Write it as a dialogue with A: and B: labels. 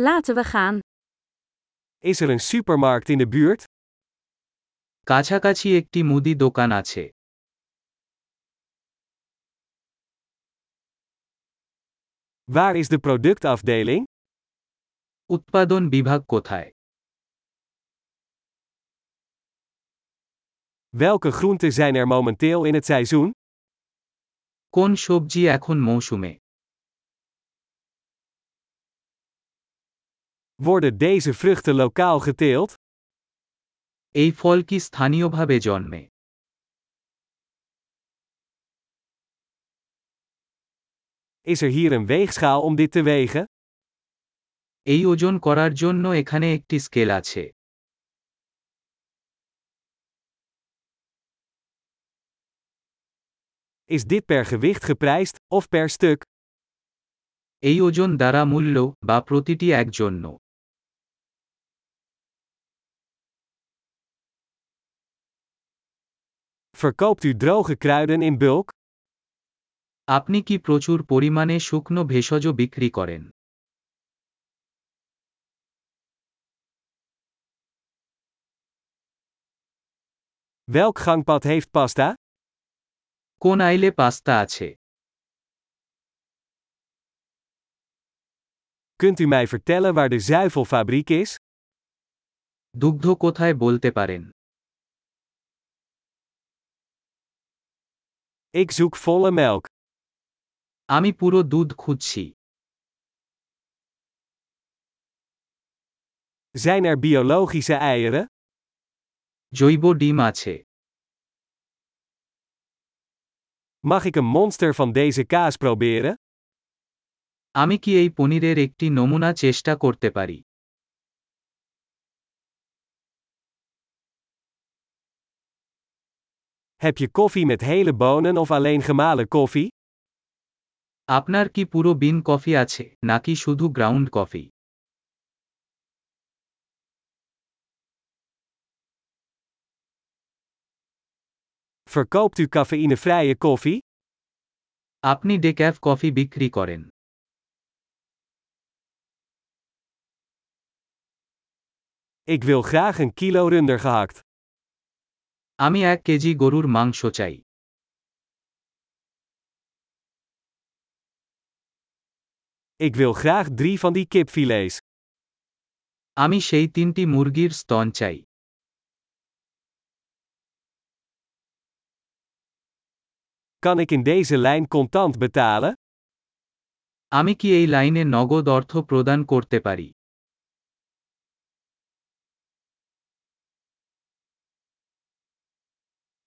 A: Laten we gaan.
B: Is er een supermarkt in de buurt?
C: কাছাকাছি একটি মুদি দোকান আছে
B: Waar is de productafdeling?
C: উৎপাদন বিভাগ কোথায়
B: Welke groenten zijn er momenteel in het seizoen?
C: কোন সবজি এখন মৌসুমে
B: Worden deze vruchten lokaal geteeld?
C: এই ফল কি স্থানীয়ভাবে জন্মে
B: Is er hier een weegschaal om dit te wegen?
C: এই ওজন করার জন্য এখানে একটি স্কেল আছে
B: Is dit per gewicht geprijsd of per stuk?
C: এই ওজন দ্বারা মূল্য বা প্রতিটি এক জন্য
B: Verkoopt u droge kruiden in bulk?
C: আপনি কি প্রচুর পরিমাণে শুকনো ভেষজ বিক্রি করেন
B: Welk gangpad heeft pasta?
C: কোন আইলে পাস্তা আছে
B: Kunt u mij vertellen waar de zuivelfabriek is?
C: দুগ্ধ কোথায় বলতে পারেন
B: Ik zoek volle melk.
C: আমি পুরো দুধ খুঁজছি
B: Zijn er biologische eieren?
C: জৈব ডিম আছে
B: Mag ik een monster van deze kaas proberen?
C: আমি কি এই পনিরের একটি নমুনা চেষ্টা করতে পারি
B: Heb je koffie met hele bonen of alleen gemalen koffie?
C: আপনার কি পুরো বিন কফি আছে নাকি শুধু ground coffee
B: Verkoopt u cafeïnevrije koffie?
C: আপনি ডেক্যাফ কফি বিক্রি করেন
B: Ik wil graag een kilo runder gehakt.
C: আমি এক কেজি গরুর মাংস চাই
B: Ik wil graag drie van die kipfilets.
C: আমি সেই তিনটি মুরগির স্তন চাই
B: Kan ik in deze lijn contant betalen?
C: আমি কি এই লাইনে নগদ অর্থ প্রদান করতে পারি